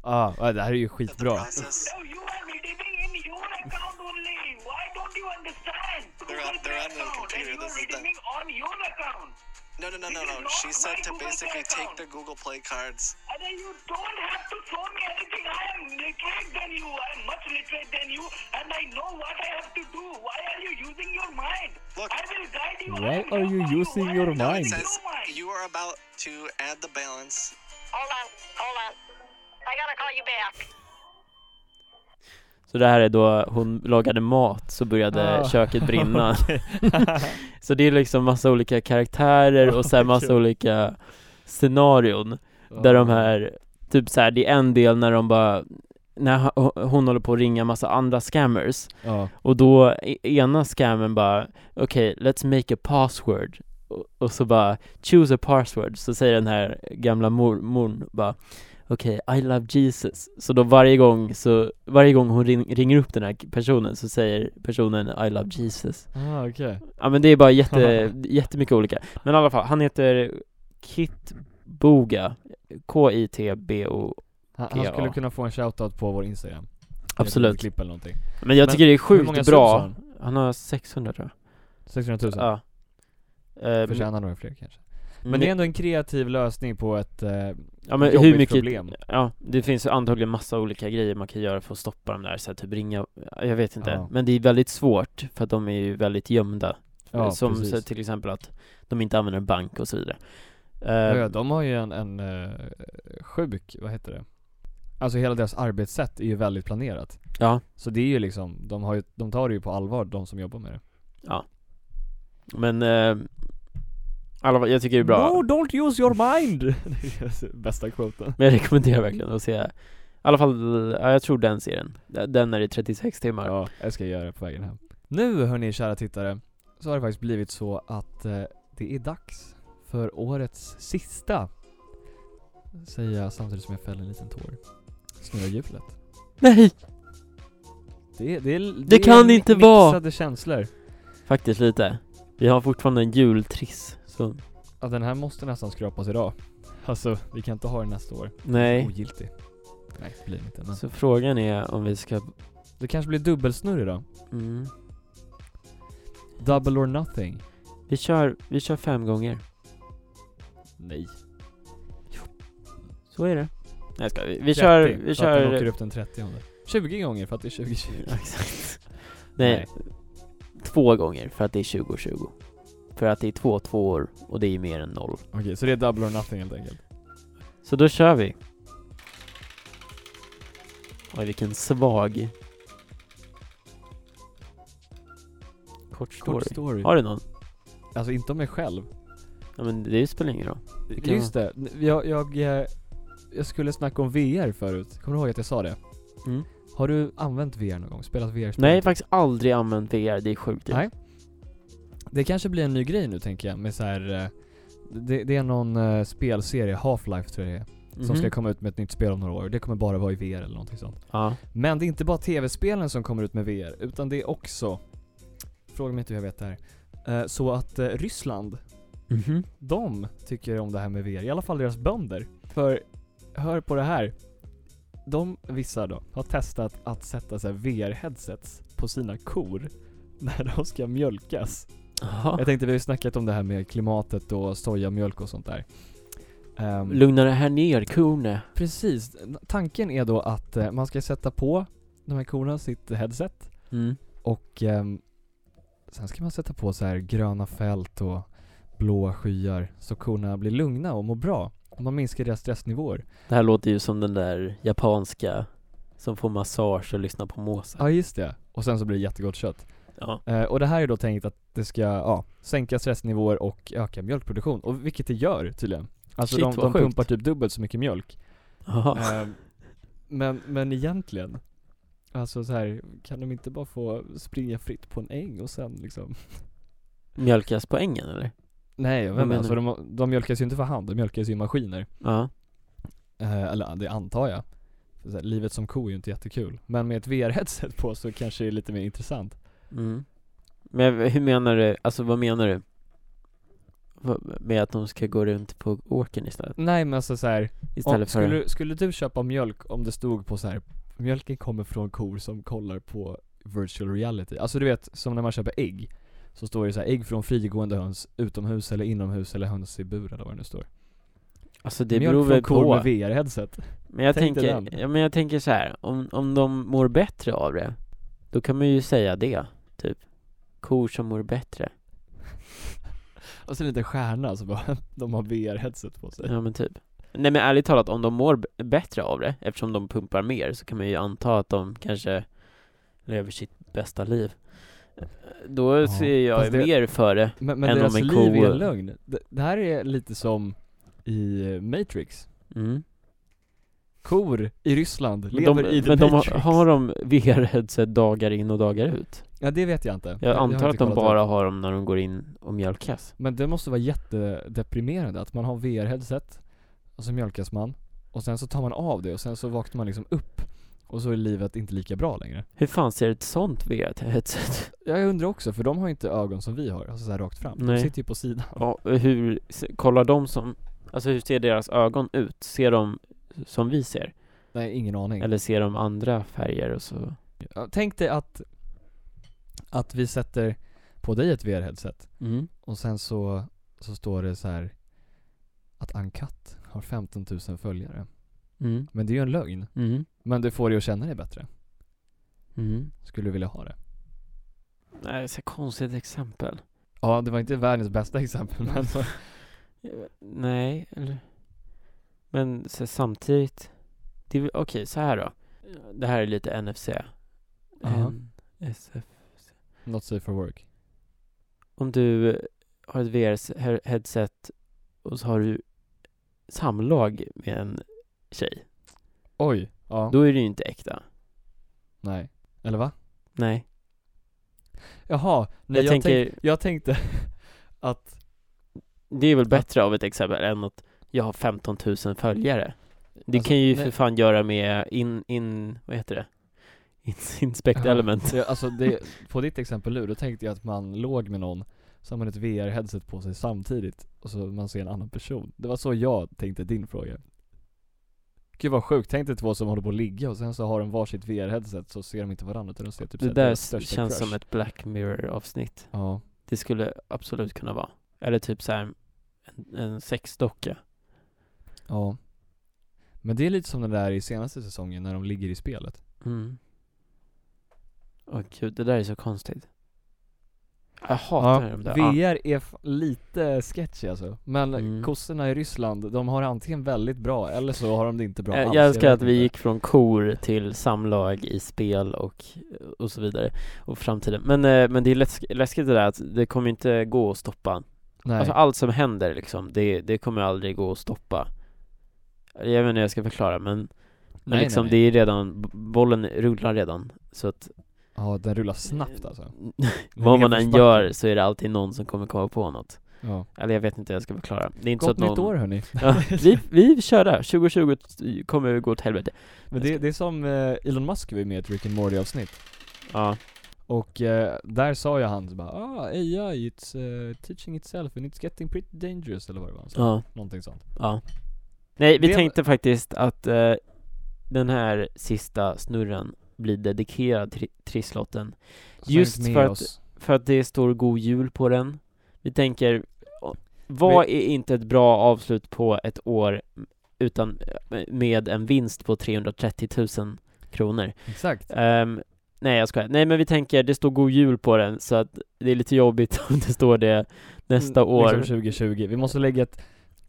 Ah, ah, det här är ju did the skitbra process. No, you are redeeming in your account only. Why don't you understand? They're on- Google they're on Pay the account, and computer. you This are is the- redeeming on your account. No, no, no, This no, is no. not She said my to Google Play basically take account. the Google Play cards. And then you don't have to show me anything. I am literate than you. I am much literate than you, and I know what I have to do. Why are you using your mind? Look. I will guide you. Why I will are you help using Why your are you No, Fine. it using says your mind? you are about to add the balance. Hold on, hold on. I gotta call you back. Så det här är då hon lagade mat så började Ah, köket brinna Så det är liksom massa olika karaktärer och så här massa Okej. olika scenarion Där de här, typ så här, det är en del när de bara när h- hon håller på att ringa massa andra scammers Ja, Och då e- ena scammen bara Okej, let's make a password och, och så bara Choose a password Så säger den här gamla mormorn bara Okej, I love Jesus Så då varje gång så Varje gång hon ring, ringer upp den här personen så säger personen I love Jesus ah, okej Ja men det är bara jätte, jättemycket olika Men i alla fall, han heter Kit Boga K-I-T-B-O han, Okej, han skulle ja. kunna få en shoutout på vår Instagram Ett Absolut klipp eller någonting Men jag Men tycker det är Hur många sjukt subs har bra han? Han har 600 tror 600 000? jag Ja Eh, Förtjänar några fler kanske Men men- det är ändå en kreativ lösning på ett eh, Mm. Ja men jobbigt hur mycket, problem. ja det finns ju antagligen massa olika grejer man kan göra för att stoppa dem där, så här, typ ringa, jag vet inte, Ja. men det är väldigt svårt för att de är ju väldigt gömda Ja, som precis. så till exempel att de inte använder bank och så vidare. Eh, Ja, ja, de har ju en, en eh, sjuk, vad heter det? Alltså hela deras arbetssätt är ju väldigt planerat. ja. Så det är ju liksom, de, har ju, de tar det ju på allvar de som jobbar med det. Men eh, alla, jag tycker det är bra. don't use your mind! Bästa quoten. Men jag rekommenderar verkligen att se. I alla fall, ja, jag tror den serien. Den är i 36 timmar. Ja, jag ska göra det på vägen hem. Nu hörni kära tittare, så har det faktiskt blivit så att eh, det är dags för årets sista. Säger jag samtidigt som jag fäller en liten tår. Snurrar hjulet. Nej! Det, det, det, Det kan är inte mi- vara. mixade känslor. Faktiskt lite. Vi har fortfarande en jultriss. Så, Ja, den här måste nästan skrapas idag. Alltså, vi kan inte ha den nästa år. nej. Ogiltig. Nej, det blir den inte. Men. Så frågan är om vi ska... Det kanske blir dubbelsnurr idag. Mm. Double or nothing. Vi, kör, vi kör fem gånger. Nej. Så är det. Nej jag ska, vi, vi kör... 30, Vi så att den kör... åker upp den 30 20 gånger för att det är 2020. Ja, Exakt. Nej, två gånger för att det är 2020. För att det är två tvåor och det är mer än noll. Okej, så det är double or nothing helt enkelt. Så då kör vi. Oj, vilken svag. Kort story. Kort story. Har du någon? Alltså inte om mig själv. Ja men det spelar ingen roll. Det kan Just det, N- jag, jag, eh, jag skulle snacka om VR förut. Kommer du ihåg att jag sa det? Mm. Har du använt VR någon gång? Spelat VR-spel? Nej, jag har faktiskt aldrig använt VR, det är sjukt dyrt. Nej. Det kanske blir en ny grej nu tänker jag med så här. eh, Det, det är någon eh, spelserie, Half-Life tror jag det är, som Mhm. ska komma ut med ett nytt spel om några år. Det kommer bara vara i VR eller någonting sånt. Ja. Men det är inte bara tv-spelen som kommer ut med VR, utan det är också, fråga mig inte hur jag vet det här, Eh, så att eh, Ryssland, Mhm. de tycker om det här med VR, i alla fall deras bönder. För, hör på det här. De, vissa då, har testat att sätta så här VR-headsets på sina kor när de ska mjölkas. Jaha. Jag tänkte vi har ju snackat om det här med klimatet och sojamjölk och sånt där. Ehm, Lugna det här ner, korne. precis, tanken är då att eh, man ska sätta på de här korna sitt headset Mm. och ehm, sen ska man sätta på så här gröna fält och blåa skyar så korna blir lugna och mår bra. Och man minskar deras stressnivåer. Det här låter ju som den där japanska som får massage och lyssnar på Mozart. Ja just det. Och sen så blir det jättegott kött. Ja. Eh, och det här är då tänkt att det ska ja, sänka stressnivåer och öka mjölkproduktion. Och vilket det gör tydligen. Alltså Shit, de, vad de sjukt. pumpar typ dubbelt så mycket mjölk. Jaha. Ehm, men, men egentligen. Alltså så här, kan de inte bara få springa fritt på en äng och sen liksom Mjölkas på ängen eller? Nej jag Vad vet inte, menar alltså de, de mjölkas ju inte för hand, de mjölkas ju i maskiner Ja. Eh, eller det antar jag. Så här, livet som ko är ju inte jättekul. Men med ett VR-headset på så kanske det är lite mer intressant. Mm. Men hur menar du, alltså vad menar du? Vad- Med att de ska gå runt på åkern istället? Nej men alltså så här, om, Istället för... skulle, skulle du köpa mjölk om det stod på så här mjölken kommer från kor som kollar på virtual reality. Alltså du vet, som när man köper ägg. Så står det så här, ägg från frigående höns utomhus eller inomhus eller höns i bur eller vad det nu står. Alltså det mjölk beror väl från kor på. med VR-headset. Men jag Tänk dig tänker, den. ja, men jag tänker så här, om, om de mår bättre av det, då kan man ju säga det, typ. Kor som mår bättre. Och sen en liten stjärna så bara, de har VR-headset på sig. Ja men typ. Nej men ärligt talat, om de mår b- bättre av det, eftersom de pumpar mer, så kan man ju anta att de kanske lever sitt bästa liv. Då Ja, ser jag fast det- mer för det. Men, men än deras om en liv ko- är en lögn. Det, det här är lite som i eh, Matrix. Mm. Kor i Ryssland Men lever de, i The men de har, Matrix. har de VR-headset dagar in och dagar ut? Ja det vet jag inte. Jag har antar inte att de kollat bara upp. har dem när de går in och mjölkas. Men det måste vara jättedeprimerande att man har VR-headset och så mjölkas man och sen så tar man av det och sen så vaknar man liksom upp och så är livet inte lika bra längre. Hur fan ser ett sånt VR-headset? Jag undrar också för de har ju inte ögon som vi har, alltså så här rakt fram. Nej. De sitter ju på sidan. Ja, hur se- kollar de som, alltså hur ser deras ögon ut? Ser de som vi ser? Nej, ingen aning. Eller ser de andra färger och så? Ja, Tänk dig att, att vi sätter på dig ett VR-headset Mm. Och sen så, så står det så här att Ankat har 15 000 följare. Mm. Men det är ju en lögn. Mm. Men det får dig att känna dig bättre. Mm. Skulle du vilja ha det? Nej, det är så konstigt exempel. Ja, det var inte världens bästa exempel men Eh, Nej, eller... Men så, samtidigt... det är väl- Okej, så här då. Det här är lite NFC. Aha. Ehm, NSF. Not safe for work. Om du har ett VR-headset och så har du samlag med en tjej, Oj, ja. då är det ju inte äkta. Nej. Eller va? Nej. Jaha, nej jag, jag, tänker, tänk, jag tänkte att, det är väl bättre av ett exempel än att jag har 15 000 följare. Det Alltså, kan ju nej. för fan göra med in, in, vad heter det? In, inspect Ja. element. det, alltså det, på ditt exempel nu, då tänkte jag att man låg med någon, så har man ett VR-headset på sig samtidigt, och så man ser en annan person. Det var så jag tänkte din fråga. Gud vad sjukt, tänk dig två som håller på att ligga och sen så har de varsitt VR-headset så ser de inte varandra utan de ser typ Det såhär där deras s- största känns crush. som ett Black Mirror avsnitt. Ja, Det skulle absolut kunna vara. Eller typ så här en, en sexdocka. ja. Men det är lite som den där i senaste säsongen när de ligger i spelet. Mm. Åh gud, det där är så konstigt. Jag hatar de där. ah, VR är f- lite sketchy alltså. Men Mm. kossorna i Ryssland, de har antingen väldigt bra eller så har de det inte bra Eh, jag, alls. jag älskar vet att vi inte. gick från kor till samlag i spel och, och så vidare. Och framtiden. Men, eh, men det är läsk- läskigt det där att det kommer inte gå att stoppa. Nej. Alltså allt som händer liksom, det, det kommer aldrig gå att stoppa. Jag vet inte hur jag ska förklara men Men Nej, liksom nej, det nej. är ju redan, b- bollen rullar redan så att Ja, den rullar snabbt alltså. Mm. vad man än Nedförsbacke. gör så är det alltid någon som kommer komma på något Ja. Eller jag vet inte hur jag ska förklara Det är inte Gott så att nytt någon... år hörni. ja, vi, vi kör där, 2020 t- kommer gå åt helvete Men det, det är som eh, Elon Musk var med i ett Rick and Morty avsnitt. Ja, Och eh, där sa ju han så bara ah, AI it's eh, teaching itself and it's getting pretty dangerous eller vad det var han sa. ja, Någonting sånt. ja Nej, vi Det- tänkte faktiskt att eh, den här sista snurren blir dedikerad till trisslotten Så han är Just inte med för att- oss. För att det står God Jul på den Vi tänker, o- vad är inte ett bra avslut på ett år utan eh, med en vinst på 330 000 kronor? Exakt. Ehm, nej jag skojar, nej men vi tänker det står God Jul på den så att det är lite jobbigt om det står det nästa Mm, år Liksom 2020. Vi måste lägga ett,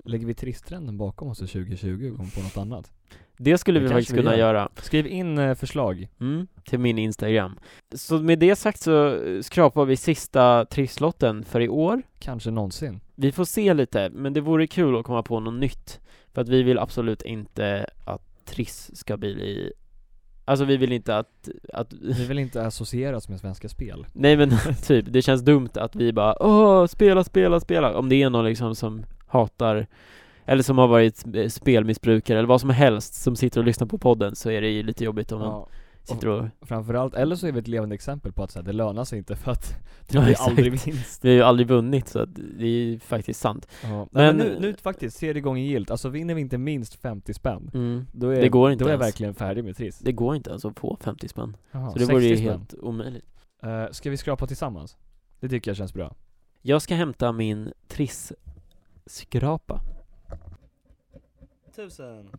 lägger vi tristtrenden bakom oss i 2020 och kommer på något annat? Det skulle det vi kanske faktiskt vi kunna gör. göra, Skriv in eh, förslag. mm, till min Instagram Så med det sagt så eh, skrapar vi sista trisslotten för i år Kanske någonsin. Vi får se lite, men det vore kul att komma på något nytt För att vi vill absolut inte att Triss ska bli Alltså vi vill inte att, att Vi vill inte associeras med svenska spel. Nej men typ, det känns dumt att vi bara Åh, spela, spela, spela Om det är någon liksom som hatar Eller som har varit eh, spelmissbrukare eller vad som helst Som sitter och lyssnar på podden så är det ju lite jobbigt om man Ja, sitter och framförallt, eller så är vi ett levande exempel på att så här, det lönar sig inte för att det Ja, blir exakt. aldrig vinst. Vi har ju aldrig vunnit så att det är ju faktiskt sant Ja. Men, Men- nu, nu faktiskt, tredje gången gillt. Alltså vinner vi inte minst 50 spänn, mm. då är, Det går inte då är jag ens. verkligen färdig med Triss. Det går inte alltså att få 50 spänn Jaha, Så det vore ju 60 spänn. helt omöjligt Eh, ska vi skrapa tillsammans? Det tycker jag känns bra. Jag ska hämta min triss-skrapa. Tusen.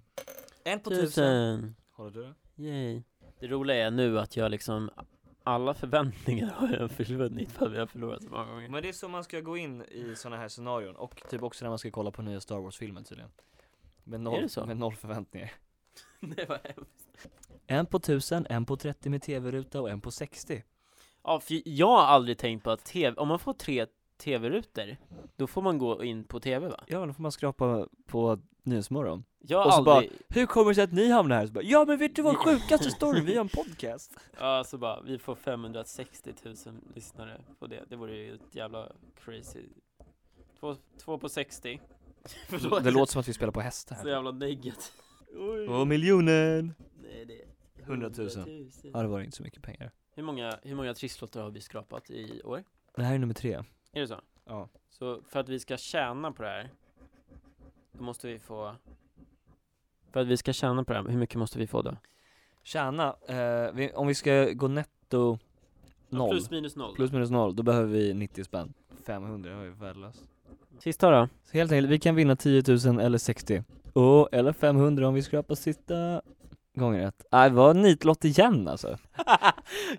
En på tusen. Tusen! Håller du det? Yay. Det roliga är nu att jag liksom, alla förväntningar har jag försvunnit för att vi har förlorat så många gånger. Men det är så man ska gå in i såna här scenarion och typ också när man ska kolla på nya Star Wars-filmen tydligen. Med Är noll, det så? med noll förväntningar. Det var hemskt. En på tusen, en på 30 med tv-ruta och en på 60. Ja, för jag har aldrig tänkt på att TV, om man får tre TV-rutor, då får man gå in på TV va? Ja, då får man skrapa på Nyhetsmorgon. Jag har Och så aldrig, Hur kommer det sig att ni hamnar här? Så bara, ja men vet du vad sjukaste storyn? Vi har en podcast. ja så bara, vi får 560 000 lyssnare på det. Det vore ju ett jävla crazy. Två, två på 60. Förlåt. Det låter som att vi spelar på hästar. Så jävla negativt. Oj. Och miljonen! Nej, det är 100 000. Ja, det var inte så mycket pengar. Hur många, hur många trisslotter har vi skrapat i år? Det här är nummer tre. Är det så? Ja. Så för att vi ska tjäna på det här, då måste vi få... För att vi ska tjäna på det här, hur mycket måste vi få då? Tjäna, eh, vi, om vi ska gå netto noll, plus, Plus minus noll. minus noll, då behöver vi 90 spänn 500 var ju värdelöst Sista då? Så helt enkelt, vi kan vinna 10 000 eller 60 Och eller 500 om vi skrapar sista gången Äh, rätt Nej, det var nitlott igen alltså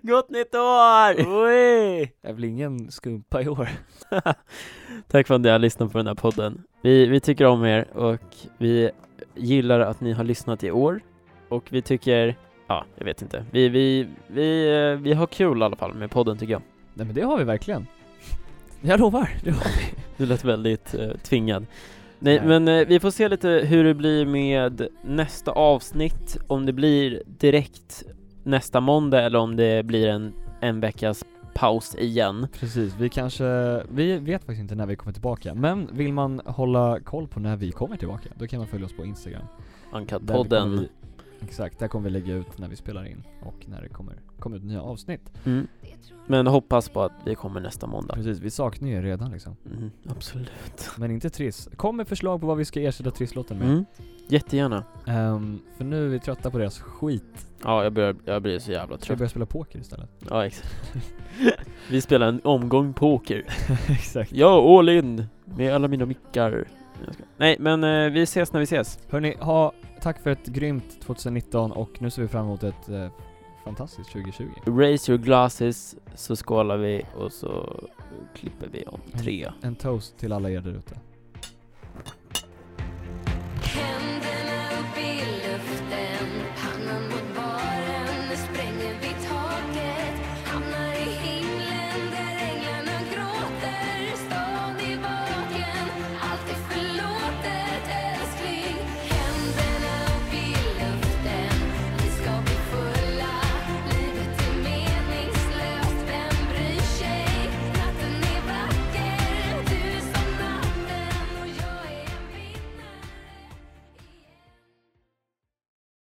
Gott nytt år! Oj! är väl ingen skumpa i år. Tack för att ni har lyssnat på den här podden. Vi, vi tycker om er och vi gillar att ni har lyssnat i år. Och vi tycker, ja, jag vet inte. Vi, vi, vi, eh, vi har kul i alla fall med podden tycker jag. Nej men det har vi verkligen. Jag lovar, det har vi. Du lät väldigt eh, tvingad. Nej, Nej. men eh, vi får se lite hur det blir med nästa avsnitt. Om det blir direkt nästa måndag eller om det blir en, en veckas paus igen. Precis, vi kanske, vi vet faktiskt inte när vi kommer tillbaka. Men vill man hålla koll på när vi kommer tillbaka, då kan man följa oss på Instagram. Där kommer Uncut-podden. vi- Exakt, där kommer vi lägga ut när vi spelar in och när det kommer, kommer ut nya avsnitt. Mm. Men hoppas på att vi kommer nästa måndag. Precis, vi saknar ju er redan liksom. Mm, absolut. Men inte Triss. Kom med förslag på vad vi ska ersätta Trisslåten med. Mm. Jättegärna. Ehm, för nu är vi trötta på deras skit. Ja, jag, börjar, jag blir så jävla Ska vi trött. börja spela poker istället? Ja, exakt. vi spelar en omgång poker. Exakt. Jag all in med alla mina mickar. Jag ska- Nej, men eh, vi ses när vi ses. Hörni, ha, tack för ett grymt 2019 och nu ser vi fram emot ett eh, fantastiskt 2020. Raise your glasses, så skålar vi och så klipper vi om tre. En toast till alla er där ute.